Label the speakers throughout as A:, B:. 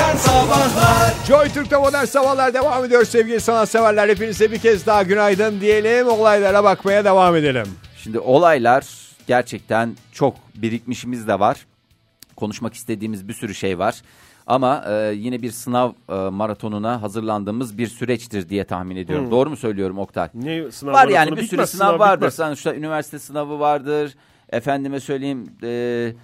A: Sabahlar
B: Joy Türk'te modern sabahlar devam ediyor sevgili sanatseverler. Hepinize bir kez daha günaydın diyelim. Olaylara bakmaya devam edelim.
C: Şimdi olaylar gerçekten çok birikmişimiz de var. Konuşmak istediğimiz bir sürü şey var. Ama e, yine bir sınav e, maratonuna hazırlandığımız bir süreçtir diye tahmin ediyorum. Doğru mu söylüyorum Oktay?
D: Hmm. Ne sınav
C: Var
D: maratonu
C: yani bir sürü
D: bitmez,
C: sınav vardır.
D: bitmez.
C: Sonuçta üniversite sınavı vardır. Efendime söyleyeyim e,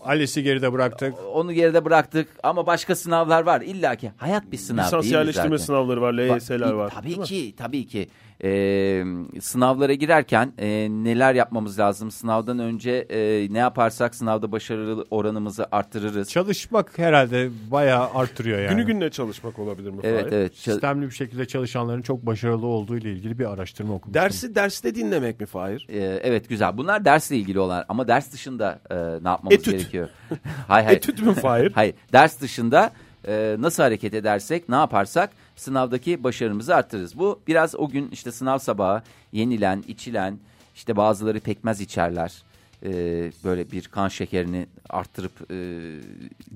B: Alice'i geride bıraktık.
C: onu geride bıraktık ama başka sınavlar var. İlla ki hayat bir sınav
D: Lisans
C: değil mi
D: yerleştirme
C: zaten?
D: sınavları var, LYS'ler
C: Bak,
D: var.
C: Tabii ki, tabii ki. Ee, sınavlara girerken e, neler yapmamız lazım? Sınavdan önce e, ne yaparsak sınavda başarı oranımızı arttırırız.
B: Çalışmak herhalde bayağı arttırıyor yani.
D: Günü gününe çalışmak olabilir mi?
C: Evet,
D: Fahir?
C: evet. Ç-
B: Sistemli bir şekilde çalışanların çok başarılı olduğu ile ilgili bir araştırma okumuştum.
D: Dersi derste dinlemek mi Fahir?
C: e, evet, güzel. Bunlar dersle ilgili olan ama ders dışında e, ne yapmamız
D: Etüt.
C: gerekiyor? hayır, hayır.
D: Etüt mü Fahir?
C: Hayır, ders dışında e, nasıl hareket edersek, ne yaparsak sınavdaki başarımızı arttırırız. Bu biraz o gün işte sınav sabahı yenilen, içilen, işte bazıları pekmez içerler. E, böyle bir kan şekerini arttırıp e,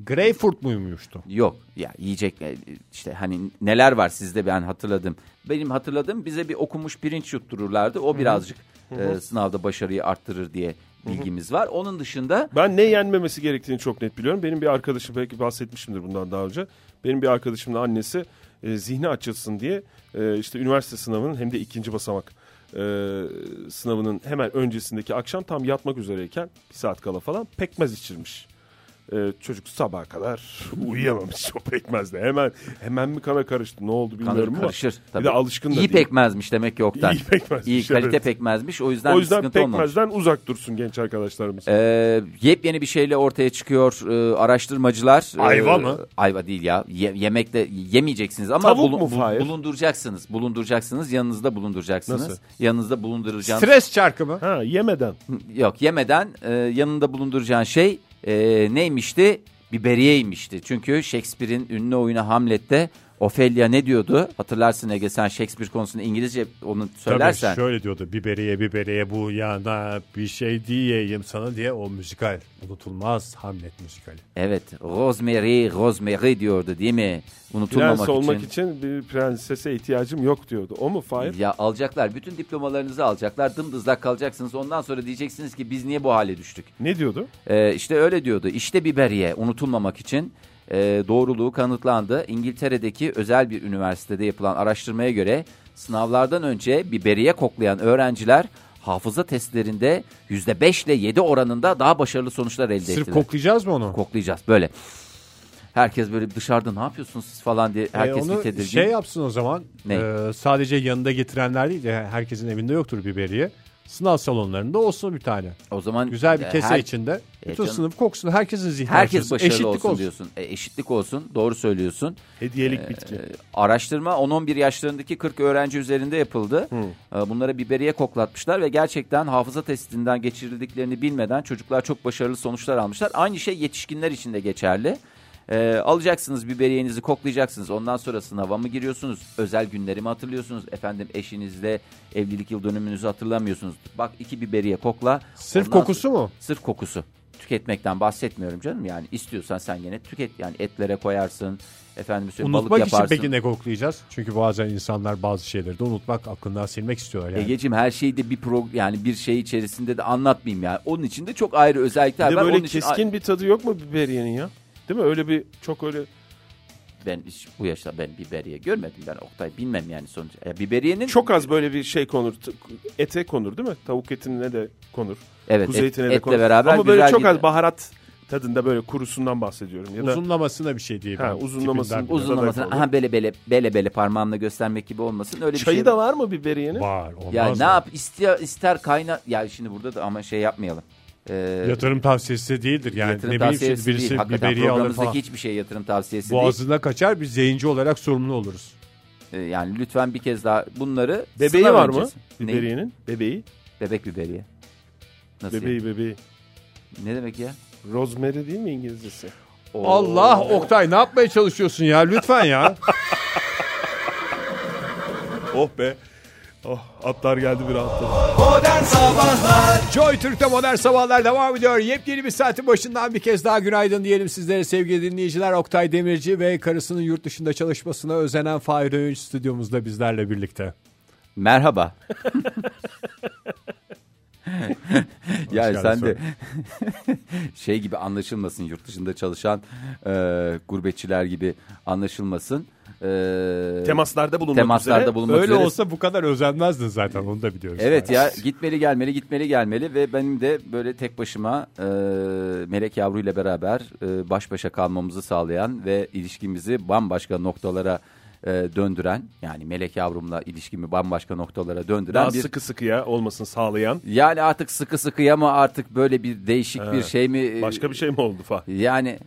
B: Greyfurt muymuştu?
C: yok ya yiyecek e, işte hani neler var sizde ben hatırladım. Benim hatırladığım bize bir okumuş pirinç yuttururlardı. O birazcık e, sınavda başarıyı arttırır diye bilgimiz var. Onun dışında
D: Ben ne yenmemesi gerektiğini çok net biliyorum. Benim bir arkadaşım belki bahsetmişimdir bundan daha önce. Benim bir arkadaşımın annesi e, zihni açılsın diye e, işte üniversite sınavının hem de ikinci basamak e, sınavının hemen öncesindeki akşam tam yatmak üzereyken bir saat kala falan pekmez içirmiş. E, çocuk sabaha kadar uyuyamamış o pekmezle. Hemen hemen mi kana karıştı ne oldu bilmiyorum
C: kanları
D: ama.
C: karışır.
D: Bir
C: Tabii.
D: de alışkın da
C: İyi
D: değil.
C: pekmezmiş demek ki Oktay.
D: İyi pekmezmiş,
C: İyi kalite
D: evet.
C: pekmezmiş. O yüzden,
D: O
C: bir
D: yüzden
C: sıkıntı olmamış.
D: pekmezden uzak dursun genç arkadaşlarımız.
C: Ee, yepyeni bir şeyle ortaya çıkıyor ee, araştırmacılar. Ee,
B: Ayva mı?
C: Ayva değil ya. Ye- yemekle yemeyeceksiniz ama
D: Tavuk mu
C: bu-
D: Fahir?
C: bulunduracaksınız. Bulunduracaksınız. Yanınızda bulunduracaksınız.
D: Nasıl?
C: Yanınızda bulunduracağınız.
B: Stres çarkı mı?
D: Ha yemeden.
C: Yok yemeden e, yanında bulunduracağın şey e, neymişti? Biberiyeymişti. Çünkü Shakespeare'in ünlü oyunu Hamlet'te Ophelia ne diyordu? Hatırlarsın Ege sen Shakespeare konusunda İngilizce onu söylersen.
B: Tabii şöyle diyordu biberiye biberiye bu yana bir şey diyeyim sana diye o müzikal unutulmaz Hamlet müzikali.
C: Evet Rosemary Rosemary diyordu değil mi? Unutulmamak
D: Prens olmak için. bir prensese ihtiyacım yok diyordu. O mu Fahir?
C: Ya alacaklar bütün diplomalarınızı alacaklar dımdızlak kalacaksınız ondan sonra diyeceksiniz ki biz niye bu hale düştük?
D: Ne diyordu?
C: Ee, işte öyle diyordu. İşte biberiye unutulmamak için e, doğruluğu kanıtlandı. İngiltere'deki özel bir üniversitede yapılan araştırmaya göre sınavlardan önce biberiye koklayan öğrenciler hafıza testlerinde %5 ile 7 oranında daha başarılı sonuçlar elde
B: Sırf
C: ettiler.
B: koklayacağız mı onu?
C: koklayacağız böyle. Herkes böyle dışarıda ne yapıyorsunuz siz falan diye herkes
B: E,
C: bir
B: onu
C: tedirgin.
B: şey yapsın o zaman.
C: Ne?
B: e, sadece yanında getirenler değil de herkesin evinde yoktur biberiye. Sınav salonlarında olsun bir tane.
C: o zaman
B: Güzel bir
C: e,
B: kese
C: her-
B: içinde.
C: E,
B: Bütün
C: canım.
B: sınıf koksun. Herkesin zihni
C: herkes
B: açılsın,
C: başarılı
B: eşitlik
C: olsun, diyorsun. E, eşitlik olsun. Doğru söylüyorsun.
D: Hediyelik bitki.
C: Araştırma 10-11 yaşlarındaki 40 öğrenci üzerinde yapıldı. E, Bunlara biberiye koklatmışlar ve gerçekten hafıza testinden geçirildiklerini bilmeden çocuklar çok başarılı sonuçlar almışlar. Aynı şey yetişkinler için de geçerli. E, alacaksınız biberiyenizi koklayacaksınız. Ondan sonra sınava mı giriyorsunuz? Özel günleri mi hatırlıyorsunuz? Efendim eşinizle evlilik yıl dönümünüzü hatırlamıyorsunuz. Bak iki biberiye kokla.
B: Sırf
C: Ondan
B: kokusu
C: sonra-
B: mu?
C: Sırf kokusu. Tüketmekten bahsetmiyorum canım yani istiyorsan sen yine tüket yani etlere koyarsın efendim söyleyeyim, e, balık
B: Unutmak için
C: yaparsın.
B: peki ne koklayacağız? Çünkü bazen insanlar bazı şeyleri de unutmak, aklından silmek istiyorlar yani.
C: Egeciğim her şeyi de bir pro yani bir şey içerisinde de anlatmayayım yani. Onun için de çok ayrı özellikler
D: Bir de
C: var.
D: böyle
C: Onun için-
D: keskin bir tadı yok mu biberiyenin ya? Değil mi? Öyle bir çok öyle
C: ben hiç bu yaşta ben biberiye görmedim ben Oktay bilmem yani sonuç. E, biberiyenin
D: çok az böyle bir şey konur. t- Ete konur değil mi? Tavuk etine de konur.
C: evet,
D: Kuzu
C: et-
D: etine de
C: etle
D: konur.
C: beraber
D: Ama böyle
C: güzel
D: çok az
C: gidiyor.
D: baharat tadında böyle kurusundan bahsediyorum ya da
B: Uzunlamasına bir şey diye.
D: Ha, uzunlamasın-
C: uzunlamasına
D: Zaten-
C: aha böyle böyle böyle böyle parmağımla göstermek gibi olmasın öyle bir
D: çayı
C: şey.
D: da var mı biberiyenin?
B: Var olmaz
C: ya
B: mı?
C: ne yap ister, ister kayna ya şimdi burada da ama şey yapmayalım. Ee,
B: Yatırım tavsiyesi değildir yani.
C: yatırım
B: ne bileyim
C: tavsiyesi
B: şimdi birisi
C: değil. Hakikaten
B: biberiye alır
C: programımızdaki
B: falan.
C: hiçbir şey yatırım tavsiyesi değil.
B: Boğazına kaçar biz yayıncı olarak sorumlu oluruz.
C: Ee, Yani lütfen bir kez daha bunları
D: Bebeği
C: sınav
D: var mı?
C: öncesi- Ne?
D: Biberiyenin. Bebeği.
C: Bebek biberiye. Nasıl?
D: Bebeği bebeği.
C: yani? Ne demek ya?
D: Rosemary değil mi İngilizcesi?
B: Allah Oktay ne yapmaya çalışıyorsun ya lütfen ya.
D: Oh be. Oh, atlar geldi bir rahatladı.
A: Modern Sabahlar
B: Joy Türk'te modern sabahlar devam ediyor. Yepyeni bir saatin başından bir kez daha günaydın diyelim sizlere sevgili dinleyiciler. Oktay Demirci ve karısının yurt dışında çalışmasına özenen Fahir Öğünç stüdyomuzda bizlerle birlikte.
C: Merhaba. yani
B: geldin
C: sen de şey gibi anlaşılmasın yurt dışında çalışan e, gurbetçiler gibi anlaşılmasın. E,
D: Temaslarda bulunmak
C: temaslarda
D: üzere.
C: bulunmak
B: Öyle
C: üzere.
B: olsa bu kadar özenmezdin zaten onu da biliyoruz.
C: Evet
B: Yani.
C: ya gitmeli gelmeli gitmeli gelmeli ve benim de böyle tek başıma e, Melek Yavru ile beraber e, baş başa kalmamızı sağlayan ve ilişkimizi bambaşka noktalara e, döndüren yani Melek Yavrum'la ilişkimi bambaşka noktalara döndüren
D: Daha
C: bir
D: sıkı sıkıya olmasını sağlayan
C: yani artık sıkı sıkıya mı artık böyle bir değişik bir şey mi? e,
D: başka bir şey mi oldu Fahri?
C: Yani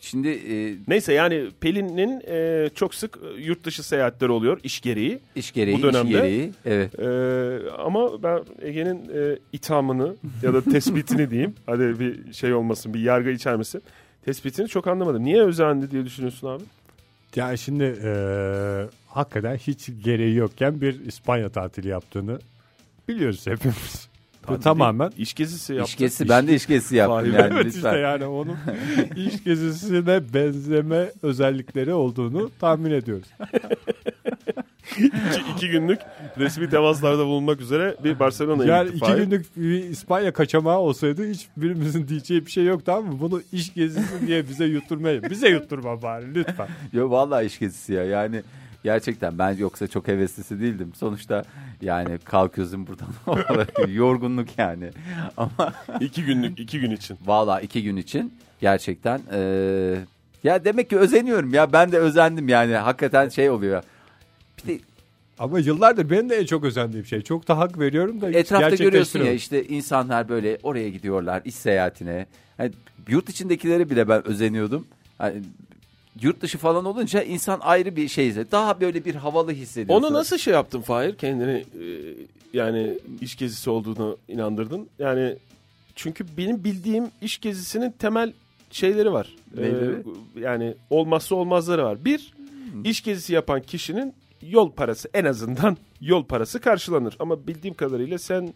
C: şimdi e,
D: Neyse yani Pelin'in e, çok sık e, yurt dışı seyahatleri oluyor iş gereği.
C: iş gereği,
D: Bu dönemde-
C: iş gereği. Evet.
D: E, ama ben Ege'nin e, ithamını ya da tespitini diyeyim. Hadi bir şey olmasın bir yargı içermesin. Tespitini çok anlamadım. Niye özendi diye düşünüyorsun abi?
B: Yani şimdi e, hakikaten hiç gereği yokken bir İspanya tatili yaptığını biliyoruz hepimiz. Bu tamamen
D: İş gezisi yaptı.
C: İş gezisi, ben de iş gezisi yaptım yani
B: evet
C: lütfen.
B: işte yani onun iş gezisine benzeme özellikleri olduğunu tahmin ediyoruz.
D: İki, iki günlük resmi temaslarda bulunmak üzere bir Barcelona'ya
B: Yani
D: gitti
B: iki
D: Fahir.
B: günlük bir İspanya kaçamağı olsaydı hiçbirimizin diyeceği bir şey yoktu ama bunu iş gezisi diye bize yutturmayın. Bize yutturma bari lütfen.
C: Yo vallahi iş gezisi ya yani gerçekten ben yoksa çok heveslisi değildim. Sonuçta yani kalkıyorsun buradan olarak yorgunluk yani. Ama
D: İki günlük iki gün için.
C: vallahi iki gün için gerçekten eee, ya demek ki özeniyorum ya ben de özendim yani hakikaten şey oluyor. Bir de
B: Ama yıllardır benim de en çok özendiğim şey. Çok da hak veriyorum da hiç
C: etrafta görüyorsun ya
B: gerçekleştiremiyorum.
C: işte insanlar böyle oraya gidiyorlar iş seyahatine. Hani yurt içindekileri bile ben özeniyordum. Hani yurt dışı falan olunca insan ayrı bir şey hissediyor. Daha böyle bir havalı hissediyor.
D: Onu nasıl şey yaptın Fahir? Kendini e, yani iş gezisi olduğunu inandırdın. Yani çünkü benim bildiğim iş gezisinin temel şeyleri var.
C: Neyleri? Hmm.
D: E, yani olmazsa olmazları var. Bir, iş gezisi yapan kişinin yol parası en azından yol parası karşılanır. Ama bildiğim kadarıyla sen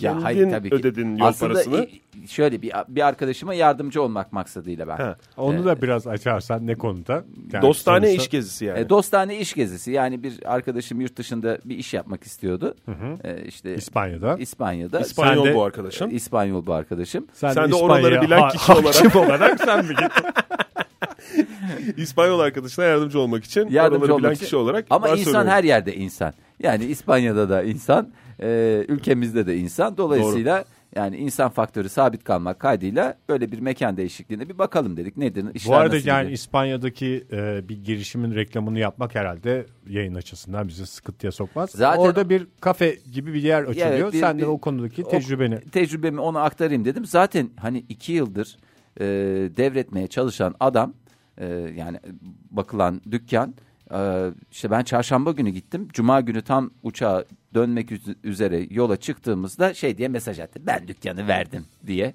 D: kendin ödedin yol
C: Aslında
D: parasını.
C: i- şöyle bir, bir arkadaşıma yardımcı olmak maksadıyla ben.
D: Ha.
B: Onu da biraz açarsan ne konuda? Yani
D: Dostane
B: sonuçta-
D: iş gezisi yani.
C: E, dostane iş gezisi yani bir arkadaşım yurt dışında bir iş yapmak istiyordu. E, işte
B: İspanya'da.
C: İspanya'da.
D: İspanyol
B: Sen de-
D: bu arkadaşın.
C: E, İspanyol bu arkadaşım.
D: Sen de
B: İspanya'ya
D: oraları bilen
B: ha-
D: kişi olarak-
B: hakim olarak sen mi gittin?
D: İspanyol arkadaşına yardımcı olmak için
C: Yardımcı
D: oraları
C: olmak
D: bilen
C: için.
D: kişi olarak
C: Ama
D: ben
C: insan
D: söylüyorum.
C: her yerde insan. Yani İspanya'da da insan, e, ülkemizde de insan. Dolayısıyla yani insan faktörü sabit kalmak kaydıyla böyle bir mekan değişikliğine bir bakalım dedik. Nedir? işler
B: Bu arada
C: nasıl
B: yani
C: gidiyor?
B: İspanya'daki e, bir girişimin reklamını yapmak herhalde yayın açısından bizi sıkıntıya sokmaz.
C: Zaten-
B: Orada bir kafe gibi bir yer açılıyor.
C: Evet, bir-
B: Sen
C: bir-
B: de o konudaki
C: o-
B: tecrübeni.
C: tecrübemi ona aktarayım dedim. Zaten hani iki yıldır e, devretmeye çalışan adam e, yani bakılan dükkan e, işte ben çarşamba günü gittim. Cuma günü tam uçağa dönmek üz- üzere yola çıktığımızda şey diye mesaj attı. Ben dükkanı verdim diye.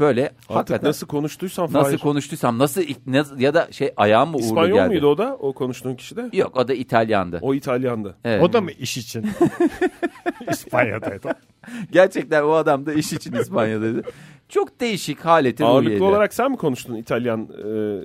C: Böyle
D: Artık
C: hakikaten nasıl,
D: nasıl konuştuysan Fahir.
C: konuştuysam nasıl, ilk- nas- ya da şey ayağım mı uğurlu
D: İspanyol
C: geldi.
D: muydu o da? O konuştuğun kişi de?
C: Yok o da İtalyandı.
D: O İtalyan'dı.
C: Evet.
B: O da mı iş için? İspanya'daydı.
C: Gerçekten o adam da iş için İspanya'daydı. Çok değişik haleti
D: Ağırlıklı
C: ruhiyeli.
D: olarak sen mi konuştun İtalyan e,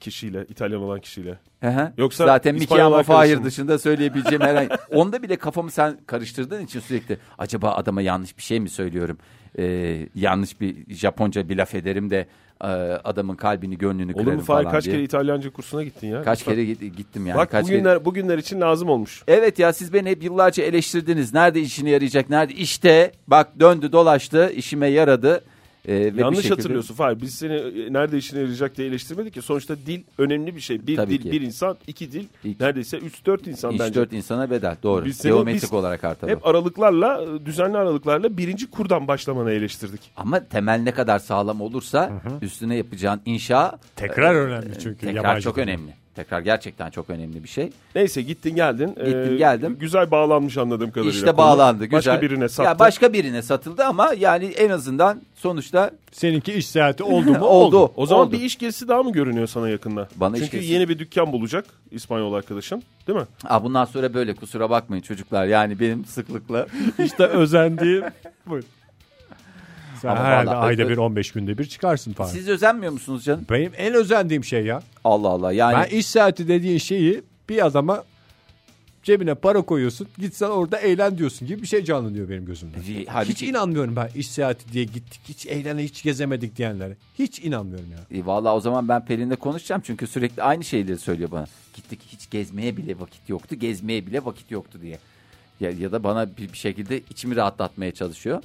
D: kişiyle, İtalyan olan kişiyle?
C: Hı hı.
D: Yoksa
C: zaten Mickey
D: İspanyol
C: ama
D: arkadaşın
C: Fahir
D: mı?
C: dışında söyleyebileceğim herhangi onda bile kafamı sen karıştırdığın için sürekli acaba adama yanlış bir şey mi söylüyorum Ee, yanlış bir Japonca bir laf ederim de e, adamın kalbini gönlünü
D: Olur
C: kırarım
D: mu Fahir?
C: falan
D: Kaç
C: diye.
D: kere İtalyanca kursuna gittin ya?
C: kaç kere git- gittim yani
D: Bak
C: kaç kere-
D: bugünler, bugünler için lazım olmuş.
C: Evet ya siz beni hep yıllarca eleştirdiniz. Nerede işine yarayacak? Nerede? İşte bak döndü dolaştı işime yaradı. Ee, ve bir
D: Yanlış
C: şekilde-
D: hatırlıyorsun Fahir. Biz seni e, nerede işine yarayacak diye eleştirmedik ki. Sonuçta dil önemli bir şey. Bir
C: Tabii
D: dil,
C: ki.
D: bir insan, iki dil,
C: İki.
D: neredeyse üç, dört insan
C: İş
D: bence.
C: dört insana bedel doğru.
D: Biz seni-
C: Geometrik
D: biz-
C: olarak artar.
D: Hep aralıklarla, e, düzenli aralıklarla birinci kurdan başlamanı eleştirdik.
C: Ama temel ne kadar sağlam olursa üstüne yapacağın inşa
B: Tekrar önemli çünkü.
C: tekrar
B: yabancı
C: çok
B: dilde.
C: önemli. Tekrar gerçekten çok önemli bir şey.
D: Neyse gittin geldin. Ee,
C: Gittim, geldim.
D: Güzel bağlanmış anladığım kadarıyla.
C: İşte
D: konu.
C: bağlandı güzel.
D: Başka birine sattı.
C: Ya başka birine satıldı ama yani en azından sonuçta
B: Seninki iş saati oldu mu?
C: oldu.
D: O zaman
C: oldu.
D: bir iş gezisi daha mı görünüyor sana yakında?
C: Bana iş
D: Çünkü
C: gezisi-
D: yeni bir dükkan bulacak İspanyol arkadaşın değil mi?
C: Aa, bundan sonra böyle kusura bakmayın çocuklar. Yani benim sıklıkla
B: İşte özendiğim. Buyur. Sen
C: Ama
B: herhalde
C: vallahi-
B: ayda bir 15 günde bir çıkarsın falan.
C: siz özenmiyor musunuz canım?
B: Benim en özendiğim şey ya.
C: Allah Allah. Yani
D: Hani
B: Ben iş saati dediğin şeyi bir adama cebine para koyuyorsun. Gitsen orada eğlen diyorsun gibi bir şey canlanıyor benim gözümde.
C: Hi- halbuki-
B: Hiç inanmıyorum ben iş saati diye gittik. Hiç eğlene hiç gezemedik diyenlere. Hiç inanmıyorum ya.
C: E, Valla o zaman ben Pelin'le konuşacağım çünkü sürekli aynı şeyleri söylüyor bana. Gittik hiç gezmeye bile vakit yoktu, gezmeye bile vakit yoktu diye. Ya, ya da bana bir, bir şekilde içimi rahatlatmaya çalışıyor.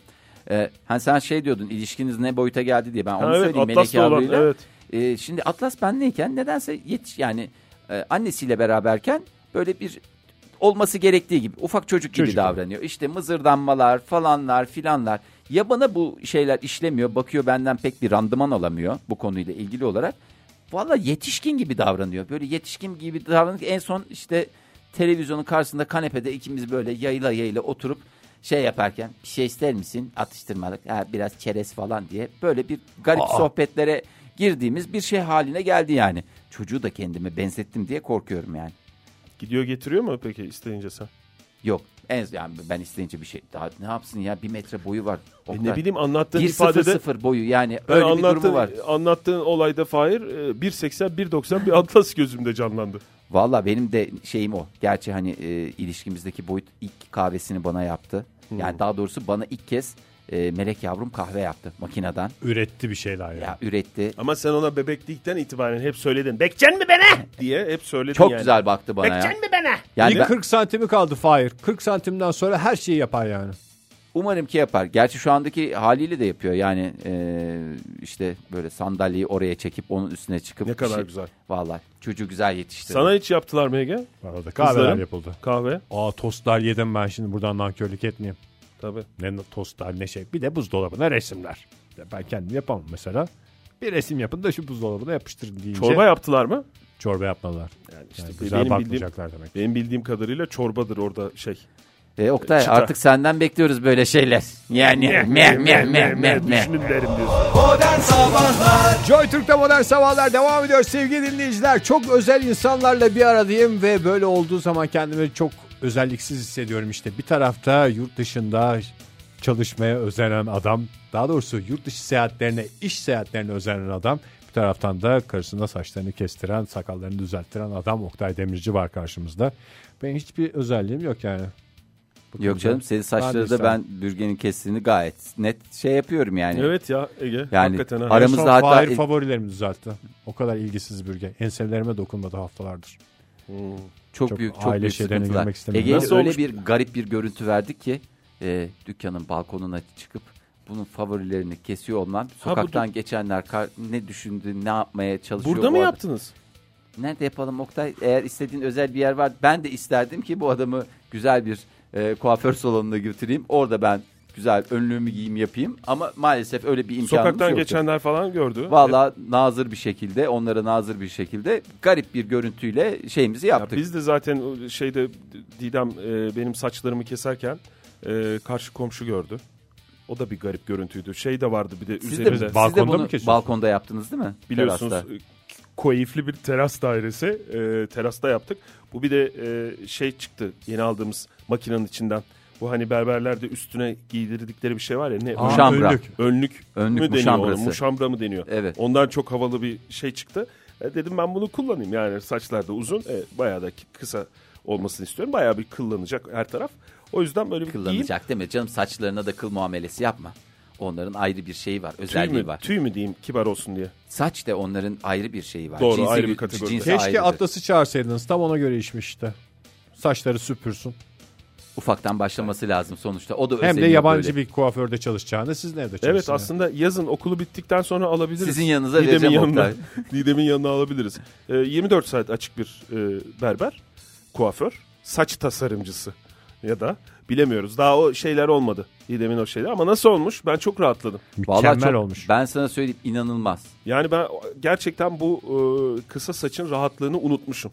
C: E, hani sen şey diyordun ilişkiniz ne boyuta geldi diye ben onu
D: Ha, evet,
C: söyleyeyim Melek
D: Atlas'la olan,
C: Yavru'yla.
D: evet.
C: E, şimdi Atlas benleyken nedense yetiş yani e, annesiyle beraberken böyle bir olması gerektiği gibi ufak çocuk gibi
B: Çocuk, evet.
C: davranıyor. İşte mızırdanmalar falanlar filanlar. Ya bana bu şeyler işlemiyor bakıyor benden pek bir randıman alamıyor bu konuyla ilgili olarak. Valla yetişkin gibi davranıyor. Böyle yetişkin gibi davranıyor. En son işte televizyonun karşısında kanepede ikimiz böyle yayla yayla oturup şey yaparken bir şey ister misin atıştırmalık ha, biraz çerez falan diye böyle bir garip sohbetlere girdiğimiz bir şey haline geldi yani. Çocuğu da kendime benzettim diye korkuyorum yani.
D: Gidiyor getiriyor mu peki isteyince sen?
C: Yok. En yani ben isteyince bir şey daha ne yapsın ya bir metre boyu var.
D: E,
C: Oktay.
D: ne bileyim anlattığın
C: 1 0
D: ifadede
C: 0 boyu yani
D: Ben
C: öyle bir
D: anlattığın,
C: durumu var.
D: anlattığın olayda Fahir e, 1.80 1.90 bir atlas gözümde canlandı.
C: Valla benim de şeyim o. Gerçi hani e, ilişkimizdeki boyut ilk kahvesini bana yaptı. Yani daha doğrusu bana ilk kez e, Melek Yavrum kahve yaptı makineden.
B: Üretti bir şeyler ya.
C: Ya üretti.
D: Ama sen ona bebeklikten itibaren hep söyledin. Bekçen mi bana? diye hep söyledin
C: Çok
D: yani.
C: güzel baktı bana ya.
D: Bekçen mi bana?
C: Yani
B: Bir
C: ben-
B: 40 santimi kaldı Fahir. 40 santimden sonra her şeyi yapar yani.
C: Umarım ki yapar. Gerçi şu andaki haliyle de yapıyor. Yani e, işte böyle sandalyeyi oraya çekip onun üstüne çıkıp.
D: Ne
C: bir
D: kadar
C: şey-
D: güzel.
C: Vallahi çocuğu güzel yetiştirdi.
D: Sana hiç yaptılar mı Ege?
B: Bana da
D: Kızlarım.
B: kahveler yapıldı.
D: Kahve.
B: Aa tostlar yedim ben şimdi buradan nankörlük etmeyeyim.
D: Tabii.
B: Ne tostlar ne şey. Bir de buzdolabına resimler. Ya Ben kendim yapamam mesela. Bir resim yapın da şu buzdolabına yapıştırın deyince.
D: Çorba yaptılar mı?
B: Çorba yapmalılar. Yani, güzel
D: benim
B: bakmayacaklar demek.
D: Benim bildiğim kadarıyla çorbadır orada şey.
C: E Oktay
D: Çıta.
C: artık senden bekliyoruz böyle şeyler. Yani meh meh meh meh meh.
D: Düşünün derim diyorsun.
A: Modern Sabahlar
B: Joy Türk'te modern sabahlar devam ediyor sevgili dinleyiciler. Çok özel insanlarla bir aradayım ve böyle olduğu zaman kendimi çok özelliksiz hissediyorum işte. Bir tarafta yurt dışında çalışmaya özenen adam, daha doğrusu yurt dışı seyahatlerine, iş seyahatlerine özenen adam. Bir taraftan da karısına saçlarını kestiren, sakallarını düzelttiren adam Oktay Demirci var karşımızda. Benim hiçbir özelliğim yok yani. Bu
C: Yok
B: konuda.
C: canım senin saçları da
B: Neredeyse.
C: ben bürgenin kestiğini gayet net şey yapıyorum yani.
D: Evet ya Ege.
C: Yani
D: hakikaten ha.
C: aramız-
B: Son
C: aramızda hatta-
B: Fahir favorilerimi düzeltti. O kadar ilgisiz bürge. Enselerime dokunmadı haftalardır.
D: Hmm.
C: Çok,
B: Çok
C: büyük çok
B: aile
C: büyük
B: şeylerine
C: sıkıntılar.
B: girmek istemiyorum.
C: Ege'ye
D: Nasıl
C: öyle
D: olmuş?
C: bir garip bir görüntü verdik ki e, dükkanın balkonuna çıkıp bunun favorilerini kesiyor olmam. Sokaktan geçenler kar- ne düşündü ne yapmaya çalışıyor.
D: Burada mı
C: o adam.
D: yaptınız?
C: Nerede yapalım Oktay? Eğer istediğin özel bir yer var. Ben de isterdim ki bu adamı güzel bir e, kuaför salonuna götüreyim. Orada ben güzel önlüğümü giyeyim yapayım. Ama maalesef öyle bir imkanımız
D: Sokaktan
C: yoktu.
D: geçenler falan gördü.
C: Valla nazır bir şekilde onlara nazır bir şekilde garip bir görüntüyle şeyimizi
D: Ya
C: yaptık.
D: biz de zaten o şeyde Didem e, benim saçlarımı keserken e, karşı komşu gördü. O da bir garip görüntüydü. Şey de vardı bir de
C: siz de,
D: üzerinde
C: siz
B: Balkonda
C: de bunu
B: mı kesiyorsunuz?
C: balkonda yaptınız değil mi?
D: biliyorsunuz
C: Terasta.
D: e, koyifli bir teras dairesi e, terasta yaptık. Bu bir de e, şey çıktı yeni aldığımız makinenin içinden. Bu hani berberlerde üstüne giydirdikleri bir şey var ya ne?
C: Aa,
D: Önlük-
C: Muşambra.
B: önlük.
D: Önlük,
C: Önlük
D: mü deniyor ona?
C: muşambrası.
D: Muşambra mı deniyor?
C: Evet.
D: Ondan çok havalı bir şey çıktı. E, dedim ben bunu kullanayım yani saçlar da uzun. E, bayağı da ki- kısa olmasını istiyorum. Bayağı bir kıllanacak her taraf. O yüzden böyle bir giyeyim.
C: Kıllanacak değil mi? Canım saçlarına da kıl muamelesi yapma. Onların ayrı bir şeyi var,
D: Tüy
C: özelliği
D: mü,
C: var.
D: tüy mü diyeyim kibar olsun diye.
C: Saç da onların ayrı bir şeyi var.
D: Doğru,
C: Cinsi
D: ayrı
C: gü-
D: bir kategori.
C: cinsi
B: Keşke
C: ayrıdır.
B: Atlas'ı çağırsaydınız. Tam ona göre işmiş işte. Saçları süpürsün.
C: Ufaktan başlaması lazım sonuçta. O da
B: Hem de
C: özeniyor
B: yabancı
C: böyle.
B: bir kuaförde çalışacağını sizin evde çalışın.
D: Evet
B: ya.
D: aslında yazın okulu bittikten sonra alabiliriz.
C: Sizin yanınıza vereceğim
D: yanına,
C: Oktay.
D: Didem'in yanına alabiliriz. E, 24 saat açık bir e, berber, kuaför, saç tasarımcısı ya da Bilemiyoruz. Daha o şeyler olmadı. İdem'in o şeyler ama nasıl olmuş? Ben çok rahatladım.
C: Vallahi
B: Mükemmel
C: çok-
B: olmuş.
C: Ben sana söyleyeyim inanılmaz.
D: Yani ben gerçekten bu e, kısa saçın rahatlığını unutmuşum.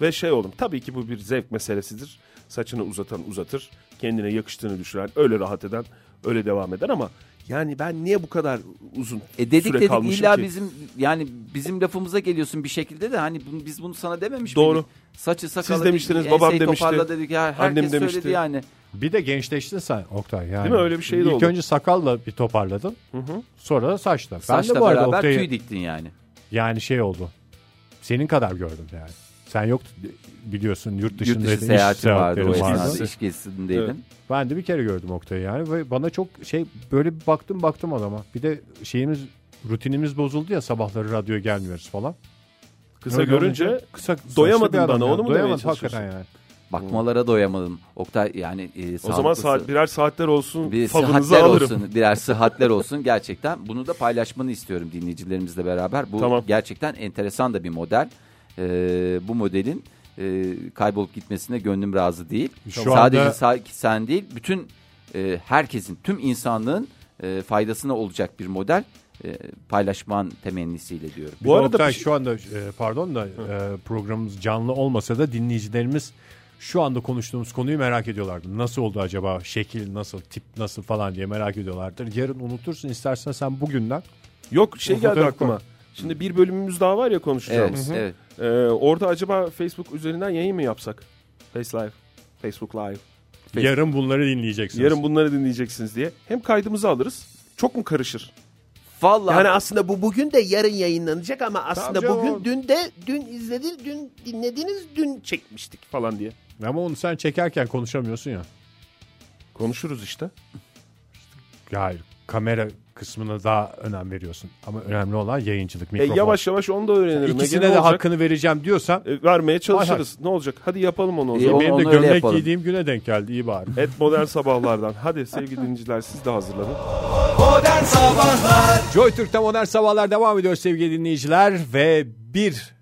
D: Ve şey oldum. Tabii ki bu bir zevk meselesidir. Saçını uzatan uzatır. Kendine yakıştığını düşünen, öyle rahat eden, öyle devam eder ama yani ben niye bu kadar uzun
C: E dedik
D: süre
C: dedik
D: kalmışım
C: illa
D: ki?
C: bizim yani bizim lafımıza geliyorsun bir şekilde de hani bunu- biz bunu sana dememiş
D: Doğru.
C: miydik? Saçı sakalı
D: demiştiniz,
C: bir
D: babam
C: enseyi toparla
D: demişti,
C: dedik ya herkes
D: annem
C: söyledi
D: demişti.
C: yani.
B: Bir de gençleştin sen Oktay yani.
D: Değil mi? Öyle bir şey de
B: İlk
D: oldu.
B: önce sakalla bir toparladın. Sonra da saçla.
C: Saçla
B: ben de bu arada
C: beraber
B: Oktay'ı
C: tüy diktin yani.
B: yani şey oldu. Senin kadar gördüm yani. Sen yok biliyorsun yurt
C: Yurt
B: dışında
C: dışı seyahati vardı o
B: vardı.
C: esnada.
D: vardı.
C: İş gezisindeydin.
D: Evet.
B: Ben de bir kere gördüm Oktay'ı yani ve bana çok şey böyle bir baktım baktım adama. Bir de şeyimiz rutinimiz bozuldu ya sabahları radyo gelmiyoruz falan.
D: Kısa
B: Öyle
D: görünce
B: olunca kısa saçlı
D: doyamadın
B: bir adam
D: bana,
B: ya.
D: onu mu demeye
B: Doyamadım
D: çalışıyorsun?
B: hakikaten yani.
C: Bakmalara doyamadım. Oktay yani e,
D: o zaman
C: sağlıklısı-
D: saat, birer saatler olsun
C: bir
D: favınızı
C: sıhhatler
D: alırım.
C: olsun, birer sıhhatler olsun gerçekten. Bunu da paylaşmanı istiyorum dinleyicilerimizle beraber. Bu
D: Tamam.
C: gerçekten enteresan da bir model. Ee, bu modelin e, kaybolup gitmesine gönlüm razı değil.
B: Şu
C: Sadece
B: anda-
C: sa- sen değil, bütün e, herkesin, tüm insanlığın e, faydasına olacak bir model e, paylaşman temennisiyle diyorum.
B: Bu
D: Bu
B: arada
D: arada
B: Oktay,
D: bir- şey-
B: şu anda e, pardon da e, programımız canlı olmasa da dinleyicilerimiz şu anda konuştuğumuz konuyu merak ediyorlardı. Nasıl oldu acaba? Şekil nasıl? Tip nasıl falan diye merak ediyorlardır. Yarın unutursun istersen sen bugünden.
D: Yok şey
B: O
D: geldi
B: fotoğraf
D: aklıma. Şimdi bir bölümümüz daha var ya konuşacağımız.
C: Evet, evet.
D: Ee, orada acaba Facebook üzerinden yayın mı yapsak? Face Live. Facebook Live.
C: Peki.
B: Yarın bunları dinleyeceksiniz.
D: Yarın bunları dinleyeceksiniz diye. Hem kaydımızı alırız. Çok mu karışır?
C: Vallahi
E: Yani aslında bu bugün de yarın yayınlanacak ama aslında
D: Tabii canım.
E: bugün dün de dün izlediniz, dün dinlediniz, dün çekmiştik.
D: Falan diye.
B: Ama onu sen çekerken konuşamıyorsun ya.
D: Konuşuruz işte.
B: Hayır. Kamera kısmına daha önem veriyorsun. Ama önemli olan yayıncılık,
D: E,
B: mikrofon.
D: yavaş yavaş onu da öğrenirim.
B: İkisine
D: Ege,
B: de
D: ne olacak?
B: hakkını vereceğim diyorsan
D: E, vermeye çalışırız.
B: Hay E,
D: Ne olacak? Hadi yapalım onu o
C: İyi,
D: zaman.
C: o-
B: benim
C: onu
B: de
C: öyle
B: gömlek
C: yapalım.
B: giydiğim güne denk geldi. iyi bari.
D: Et modern sabahlardan. Hadi sevgili dinleyiciler siz de hazırlanın.
A: Modern Sabahlar
B: Joy Türk'te modern sabahlar devam ediyor sevgili dinleyiciler ve bir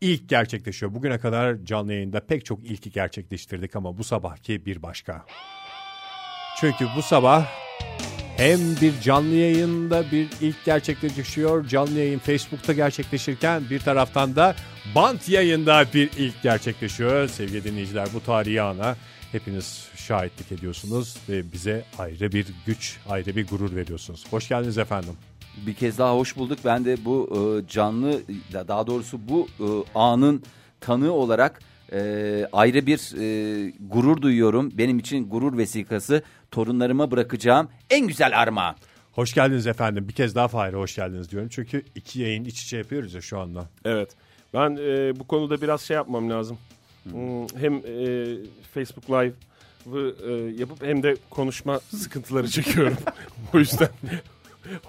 B: ilk gerçekleşiyor. Bugüne kadar canlı yayında pek çok ilki gerçekleştirdik ama bu sabahki bir başka. Çünkü bu sabah hem bir canlı yayında bir ilk gerçekleşiyor. Canlı yayın Facebook'ta gerçekleşirken bir taraftan da bant yayında bir ilk gerçekleşiyor. Sevgili dinleyiciler bu tarihi ana hepiniz şahitlik ediyorsunuz ve bize ayrı bir güç, ayrı bir gurur veriyorsunuz. Hoş geldiniz efendim.
C: Bir kez daha hoş bulduk. Ben de bu e, canlı da- daha doğrusu bu e, anın tanığı olarak e, ayrı bir e, gurur duyuyorum. Benim için gurur vesikası torunlarıma bırakacağım en güzel armağan.
B: Hoş geldiniz efendim. Bir kez daha Fahir'e hoş geldiniz diyorum. Çünkü iki yayın iç içe yapıyoruz ya şu anda.
D: Evet. Ben e, bu konuda biraz şey yapmam lazım. Hmm, Hem e, Facebook Live yapıp hem de konuşma sıkıntıları çekiyorum. o yüzden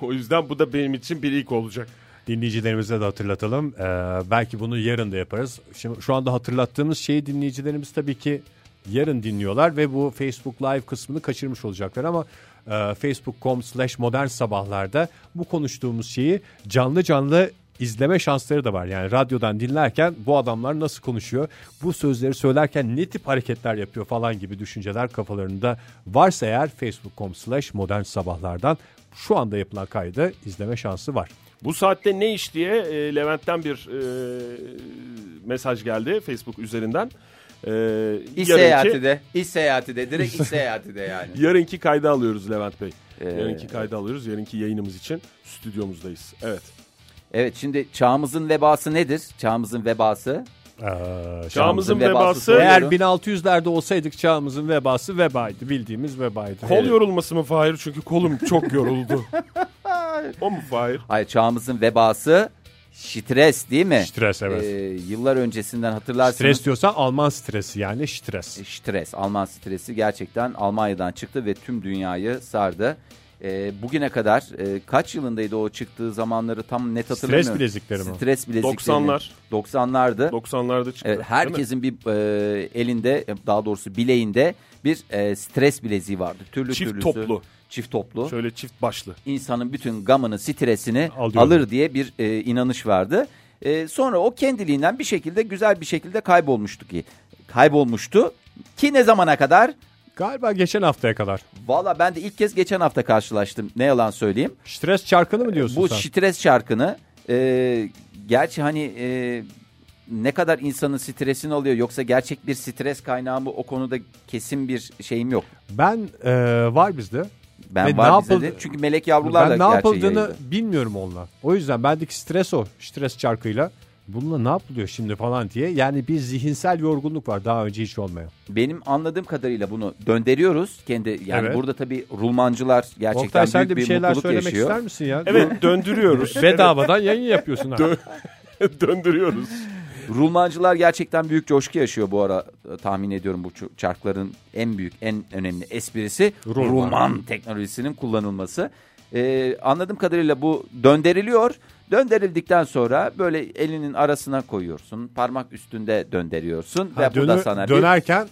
D: o yüzden bu da benim için bir ilk olacak.
B: Dinleyicilerimize de hatırlatalım. Ee, belki bunu yarın da yaparız. Şimdi şu anda hatırlattığımız şeyi dinleyicilerimiz tabii ki yarın dinliyorlar ve bu Facebook Live kısmını kaçırmış olacaklar ama e, facebook.com slash modern sabahlarda bu konuştuğumuz şeyi canlı canlı izleme şansları da var. Yani radyodan dinlerken bu adamlar nasıl konuşuyor, bu sözleri söylerken ne tip hareketler yapıyor falan gibi düşünceler kafalarında varsa eğer facebook.com slash modern sabahlardan şu anda yapılan kaydı izleme şansı var.
D: Bu saatte ne iş diye e, Levent'ten bir e, mesaj geldi Facebook üzerinden. E,
C: İş seyahati
D: yarınki,
C: de, iş seyahati de, direkt iş seyahati de yani.
D: yarınki kaydı alıyoruz Levent Bey.
C: Ee,
D: yarınki kaydı alıyoruz. Yarınki yayınımız için stüdyomuzdayız. Evet.
C: Evet şimdi çağımızın vebası nedir? Çağımızın vebası.
B: Ee,
D: Çağımızın
C: vebası Ee,
D: vebası
C: soruyor.
B: Eğer
C: Doğru.
B: 1600'lerde olsaydık çağımızın vebası vebaydı. Bildiğimiz vebaydı.
D: Kol yorulması mı Fahir? Çünkü kolum çok yoruldu. o mu Fahir?
C: Hayır çağımızın vebası stres değil mi?
B: Stres, evet.
C: Ee, yıllar öncesinden hatırlarsınız.
B: Stres diyorsan Alman stresi yani
C: Ee,
B: stres.
C: stres, Alman stresi gerçekten Almanya'dan çıktı ve tüm dünyayı sardı. Ee, bugüne kadar e, kaç yılındaydı o çıktığı zamanları tam net hatırlamıyorum.
B: bilezikleri mi?
C: Stres bilezikleri.
D: 90'lar.
C: 90'lardı.
D: 90'larda çıktı.
C: Evet, herkesin bir e, elinde daha doğrusu bileğinde bir e, stres bileziği vardı. Türlü
D: Çift
C: türlüsü.
D: toplu.
C: Çift toplu.
D: Şöyle çift başlı.
C: İnsanın bütün gamını, stresini
B: Alıyor.
C: alır diye bir e, inanış vardı. E, sonra o kendiliğinden bir şekilde güzel bir şekilde kaybolmuştu ki. Kaybolmuştu ki ne zamana kadar?
B: Galiba geçen haftaya kadar.
C: Valla ben de ilk kez geçen hafta karşılaştım. Ne yalan söyleyeyim.
B: Stres çarkını mı diyorsun
C: Bu
B: sen?
C: stres şarkını e, gerçi hani e, ne kadar insanın stresini alıyor yoksa gerçek bir stres kaynağı mı o konuda kesin bir şeyim yok.
B: Ben e, var bizde.
C: Ben
B: Ve ne
C: var bize de-
B: yapıldı-
C: çünkü melek yavrular da
B: Ben ne
C: gerçeği
B: yapıldığını
C: yayıldı.
B: bilmiyorum onunla. O yüzden bendeki stres o. Stres çarkıyla. Bununla ne yapılıyor şimdi falan diye. Yani bir zihinsel yorgunluk var daha önce hiç olmayan.
C: Benim anladığım kadarıyla bunu döndürüyoruz. Kendi yani
B: Evet.
C: burada tabii Rulmancılar gerçekten
B: Oktay sen
C: büyük
B: de bir
C: bir
B: şeyler
C: mutluluk
B: söylemek
C: yaşıyor.
B: ister misin ya?
D: Evet döndürüyoruz.
B: Bedavadan yayın yapıyorsun. ha.
D: Evet, döndürüyoruz.
C: Rulmancılar gerçekten büyük coşku yaşıyor bu ara e, tahmin ediyorum bu ç- çarkların en büyük en önemli esprisi
B: Rulman.
C: Rulman, teknolojisinin kullanılması. Ee, anladığım kadarıyla bu dönderiliyor. Dönderildikten sonra böyle elinin arasına koyuyorsun. Parmak üstünde dönderiyorsun.
B: Ha,
C: ve bu da
B: dönü-
C: sana bir-
B: dönerken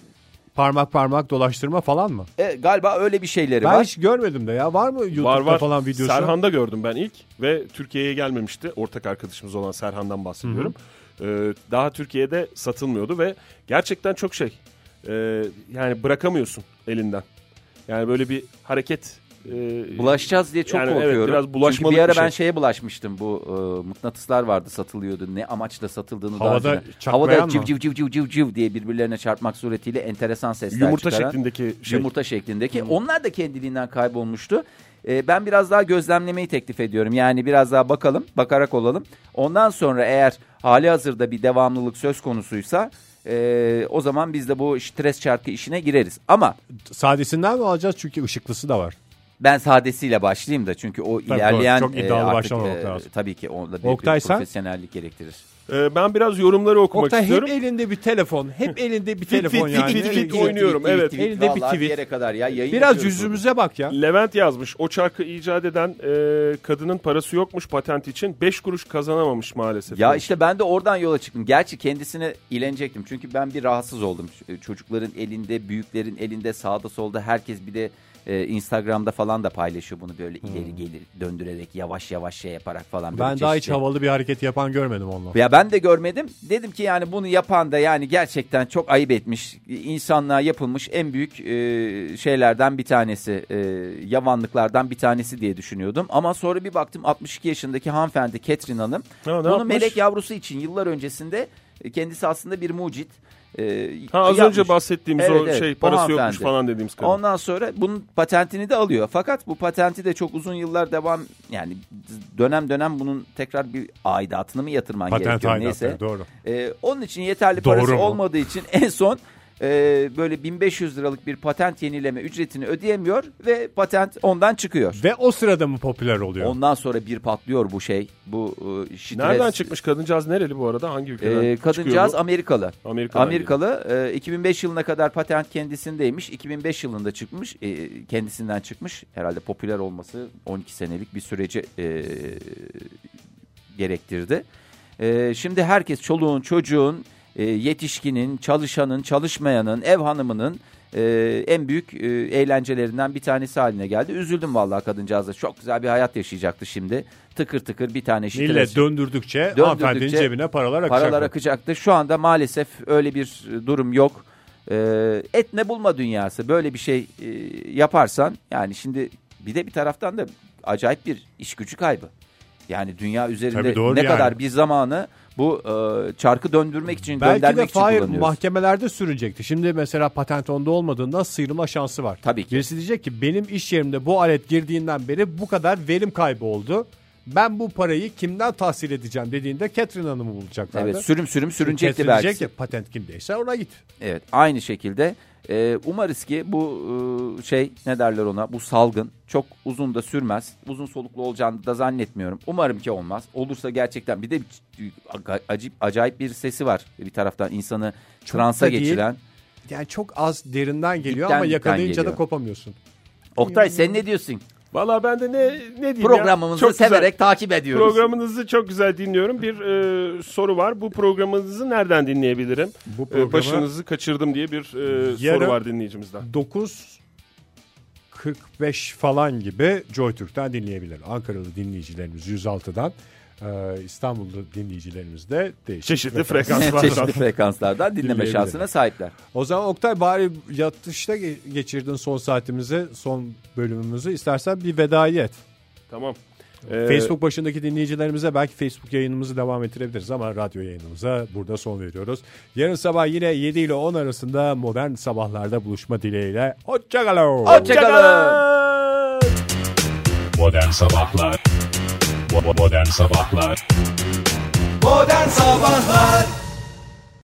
B: parmak parmak dolaştırma falan mı?
C: E, galiba öyle bir şeyleri
B: Ben
C: E var.
B: hiç görmedim de ya. Var mı YouTube'da
D: var var.
B: falan videosu?
D: Serhan'da gördüm ben ilk ve Türkiye'ye gelmemişti. Ortak arkadaşımız olan Serhan'dan bahsediyorum. Ee, daha Türkiye'de satılmıyordu ve gerçekten çok şey. Ee, yani bırakamıyorsun elinden. Yani böyle bir hareket. e,
C: Bulaşacağız diye çok
D: Yani evet,
C: korkuyorum.
D: biraz
C: Çünkü
D: bulaşmalık
C: bir ara
D: bir
C: ben
D: şey.
C: şeye bulaşmıştım. Bu e, mıknatıslar vardı satılıyordu. Ne amaçla satıldığını daha
B: Havada
C: önceden-
B: çakmayan
C: Havada
B: mı?
C: civ civ civ civ civ civ diye birbirlerine çarpmak suretiyle enteresan sesler
D: yumurta
C: çıkaran.
D: şeklindeki şey.
C: Yumurta şeklindeki. Onlar da kendiliğinden kaybolmuştu. E, ben biraz daha gözlemlemeyi teklif ediyorum. Yani biraz daha bakalım, bakarak olalım. Ondan sonra eğer hali hazırda bir devamlılık söz konusuysa e, o zaman biz de bu stres çarkı işine gireriz. Ama
B: Sadesinden mi alacağız? Çünkü ışıklısı da var.
C: ben sadesiyle başlayayım da çünkü o
B: doğru.
C: ilerleyen
B: Çok
C: e,
B: iddialı
C: artık,
B: başlamamak
C: e,
B: lazım.
C: Tabii ki onda büyük
B: Oktay
C: bir
B: sen?
C: profesyonellik gerektirir.
D: Ee, ben biraz yorumları okumak
B: Oktay
D: istiyorum.
B: hep elinde bir telefon. Hep elinde bir telefon
D: fit,
B: yani.
D: fit, fit,
B: Elinde-
D: oynuyorum, evet.
B: Elinde bir
C: Vallahi
B: tweet.
C: yere kadar ya yayın
B: Biraz
C: yapıyoruz
B: yüzümüze bak ya.
D: Levent yazmış. O çarkı icat eden e, kadının parası yokmuş patent için. 5 kuruş kazanamamış maalesef.
C: Ya işte ben de oradan yola çıktım. Gerçi kendisine ilenecektim. Çünkü ben bir rahatsız oldum. Ç- e, Çocukların elinde, büyüklerin elinde, sağda solda herkes bir de e, Instagram'da falan da paylaşıyor bunu böyle ileri gelir döndürerek yavaş yavaş şey yaparak falan. böyle
B: Hmm. Ben daha hiç
C: çeşitli-
B: havalı bir hareket yapan görmedim onunla.
C: Ya ben de görmedim. Dedim ki yani bunu yapan da yani gerçekten çok ayıp etmiş. İnsanlığa yapılmış en büyük e, şeylerden bir tanesi, e, yavanlıklardan bir tanesi diye düşünüyordum. Ama sonra bir baktım 62 yaşındaki hanımefendi Catherine Hanım.
D: Ha, ne
C: bunu
D: yapmış?
C: melek yavrusu için yıllar öncesinde e, kendisi aslında bir mucit. e,
D: Ha, az
C: yapmış.
D: önce bahsettiğimiz
C: Evet,
D: o
C: evet,
D: şey
C: o
D: parası yokmuş
C: hanımefendi.
D: falan dediğimiz kadın.
C: Ondan sonra bunun patentini de alıyor. Fakat bu patenti de çok uzun yıllar devam yani dönem dönem bunun tekrar bir aidatını mı yatırman
B: Patent
C: gerekiyor
B: aidatı,
C: neyse.
B: doğru.
C: Ee, onun için yeterli
B: Doğru
C: parası
B: mu?
C: olmadığı için en son e, böyle 1500 liralık bir patent yenileme ücretini ödeyemiyor ve patent ondan çıkıyor.
B: Ve o sırada mı popüler oluyor?
C: Ondan sonra bir patlıyor bu şey. Bu e, şitres.
D: Nereden çıkmış kadıncağız nereli bu arada? Hangi ülkeden?
C: E, kadıncağız Amerikalı.
D: Amerika'dan
C: Amerikalı e, 2005 yılına kadar patent kendisindeymiş. 2005 yılında çıkmış. e, kendisinden çıkmış. Herhalde popüler olması 12 senelik bir süreci e, gerektirdi. E, şimdi herkes çoluğun, çocuğun, e, yetişkinin, çalışanın, çalışmayanın, ev hanımının e, en büyük e, eğlencelerinden bir tanesi haline geldi. Üzüldüm vallahi kadıncağıza. Çok güzel bir hayat yaşayacaktı şimdi. Tıkır tıkır bir tane şitres.
B: Millet döndürdükçe, hanımefendinin cebine paralar akacak.
C: Paralar akacaktı. Şu anda maalesef öyle bir durum yok. Ee, et ne bulma dünyası böyle bir şey e, yaparsan yani şimdi bir de bir taraftan da acayip bir iş gücü kaybı. Yani dünya üzerinde
B: Tabii doğru
C: ne
B: yani.
C: kadar bir zamanı bu e, çarkı döndürmek için
B: Belki de
C: göndermek için
B: Fahir
C: kullanıyoruz.
B: mahkemelerde sürünecekti. Şimdi mesela patent onda olmadığından sıyrılma şansı var.
C: Tabii ki.
B: Birisi diyecek ki benim iş yerimde bu alet girdiğinden beri bu kadar verim kaybı oldu. Ben bu parayı kimden tahsil edeceğim dediğinde Catherine Hanım'ı bulacaklardı.
C: evet sürüm sürüm sürünecekti
B: Catherine
C: belki.
B: diyecek ki patent kimdeyse ona git.
C: Evet aynı şekilde e, umarız ki bu e, şey ne derler ona bu salgın çok uzun da sürmez. Uzun soluklu olacağını da zannetmiyorum. Umarım ki olmaz. Olursa gerçekten bir de bir- acayip, acayip bir sesi var bir taraftan insanı transa
B: da değil.
C: geçiren.
B: Yani çok az derinden geliyor
C: Dipten
B: ama
C: dipten
B: yakalayınca da
C: geliyor.
B: kopamıyorsun.
C: Oktay sen ne diyorsun?
D: Valla ben de ne, ne diyeyim
C: Programımızı
D: ya? Çok güzel.
C: severek takip ediyoruz.
D: Programınızı çok güzel dinliyorum. Bir e, soru var. Bu programınızı nereden dinleyebilirim?
B: Bu
D: Bu
B: programı-
D: Başınızı kaçırdım diye bir e,
B: Yarın-
D: soru var dinleyicimizden.
B: 9 45 falan gibi JoyTürk'ten dinleyebilir. Ankaralı dinleyicilerimiz 106'dan, e, İstanbul'da dinleyicilerimiz de değişik
D: Çeşitli
C: Çeşitli
D: frekanslardan.
C: frekanslardan dinleme
B: Dinleyebilirim.
C: şansına sahipler.
B: O zaman Oktay bari yatışta ge- geçirdin son saatimizi, son bölümümüzü. İstersen bir vedayı et.
D: tamam. Ee,
B: Facebook başındaki dinleyicilerimize belki Facebook yayınımızı devam ettirebiliriz ama radyo yayınımıza burada son veriyoruz. Yarın sabah yine 7 ile 10 arasında modern sabahlarda buluşma dileğiyle. Hoşçakalın.
C: Hoşçakalın.
F: Modern Sabahlar Bo- Modern Sabahlar
A: Modern Sabahlar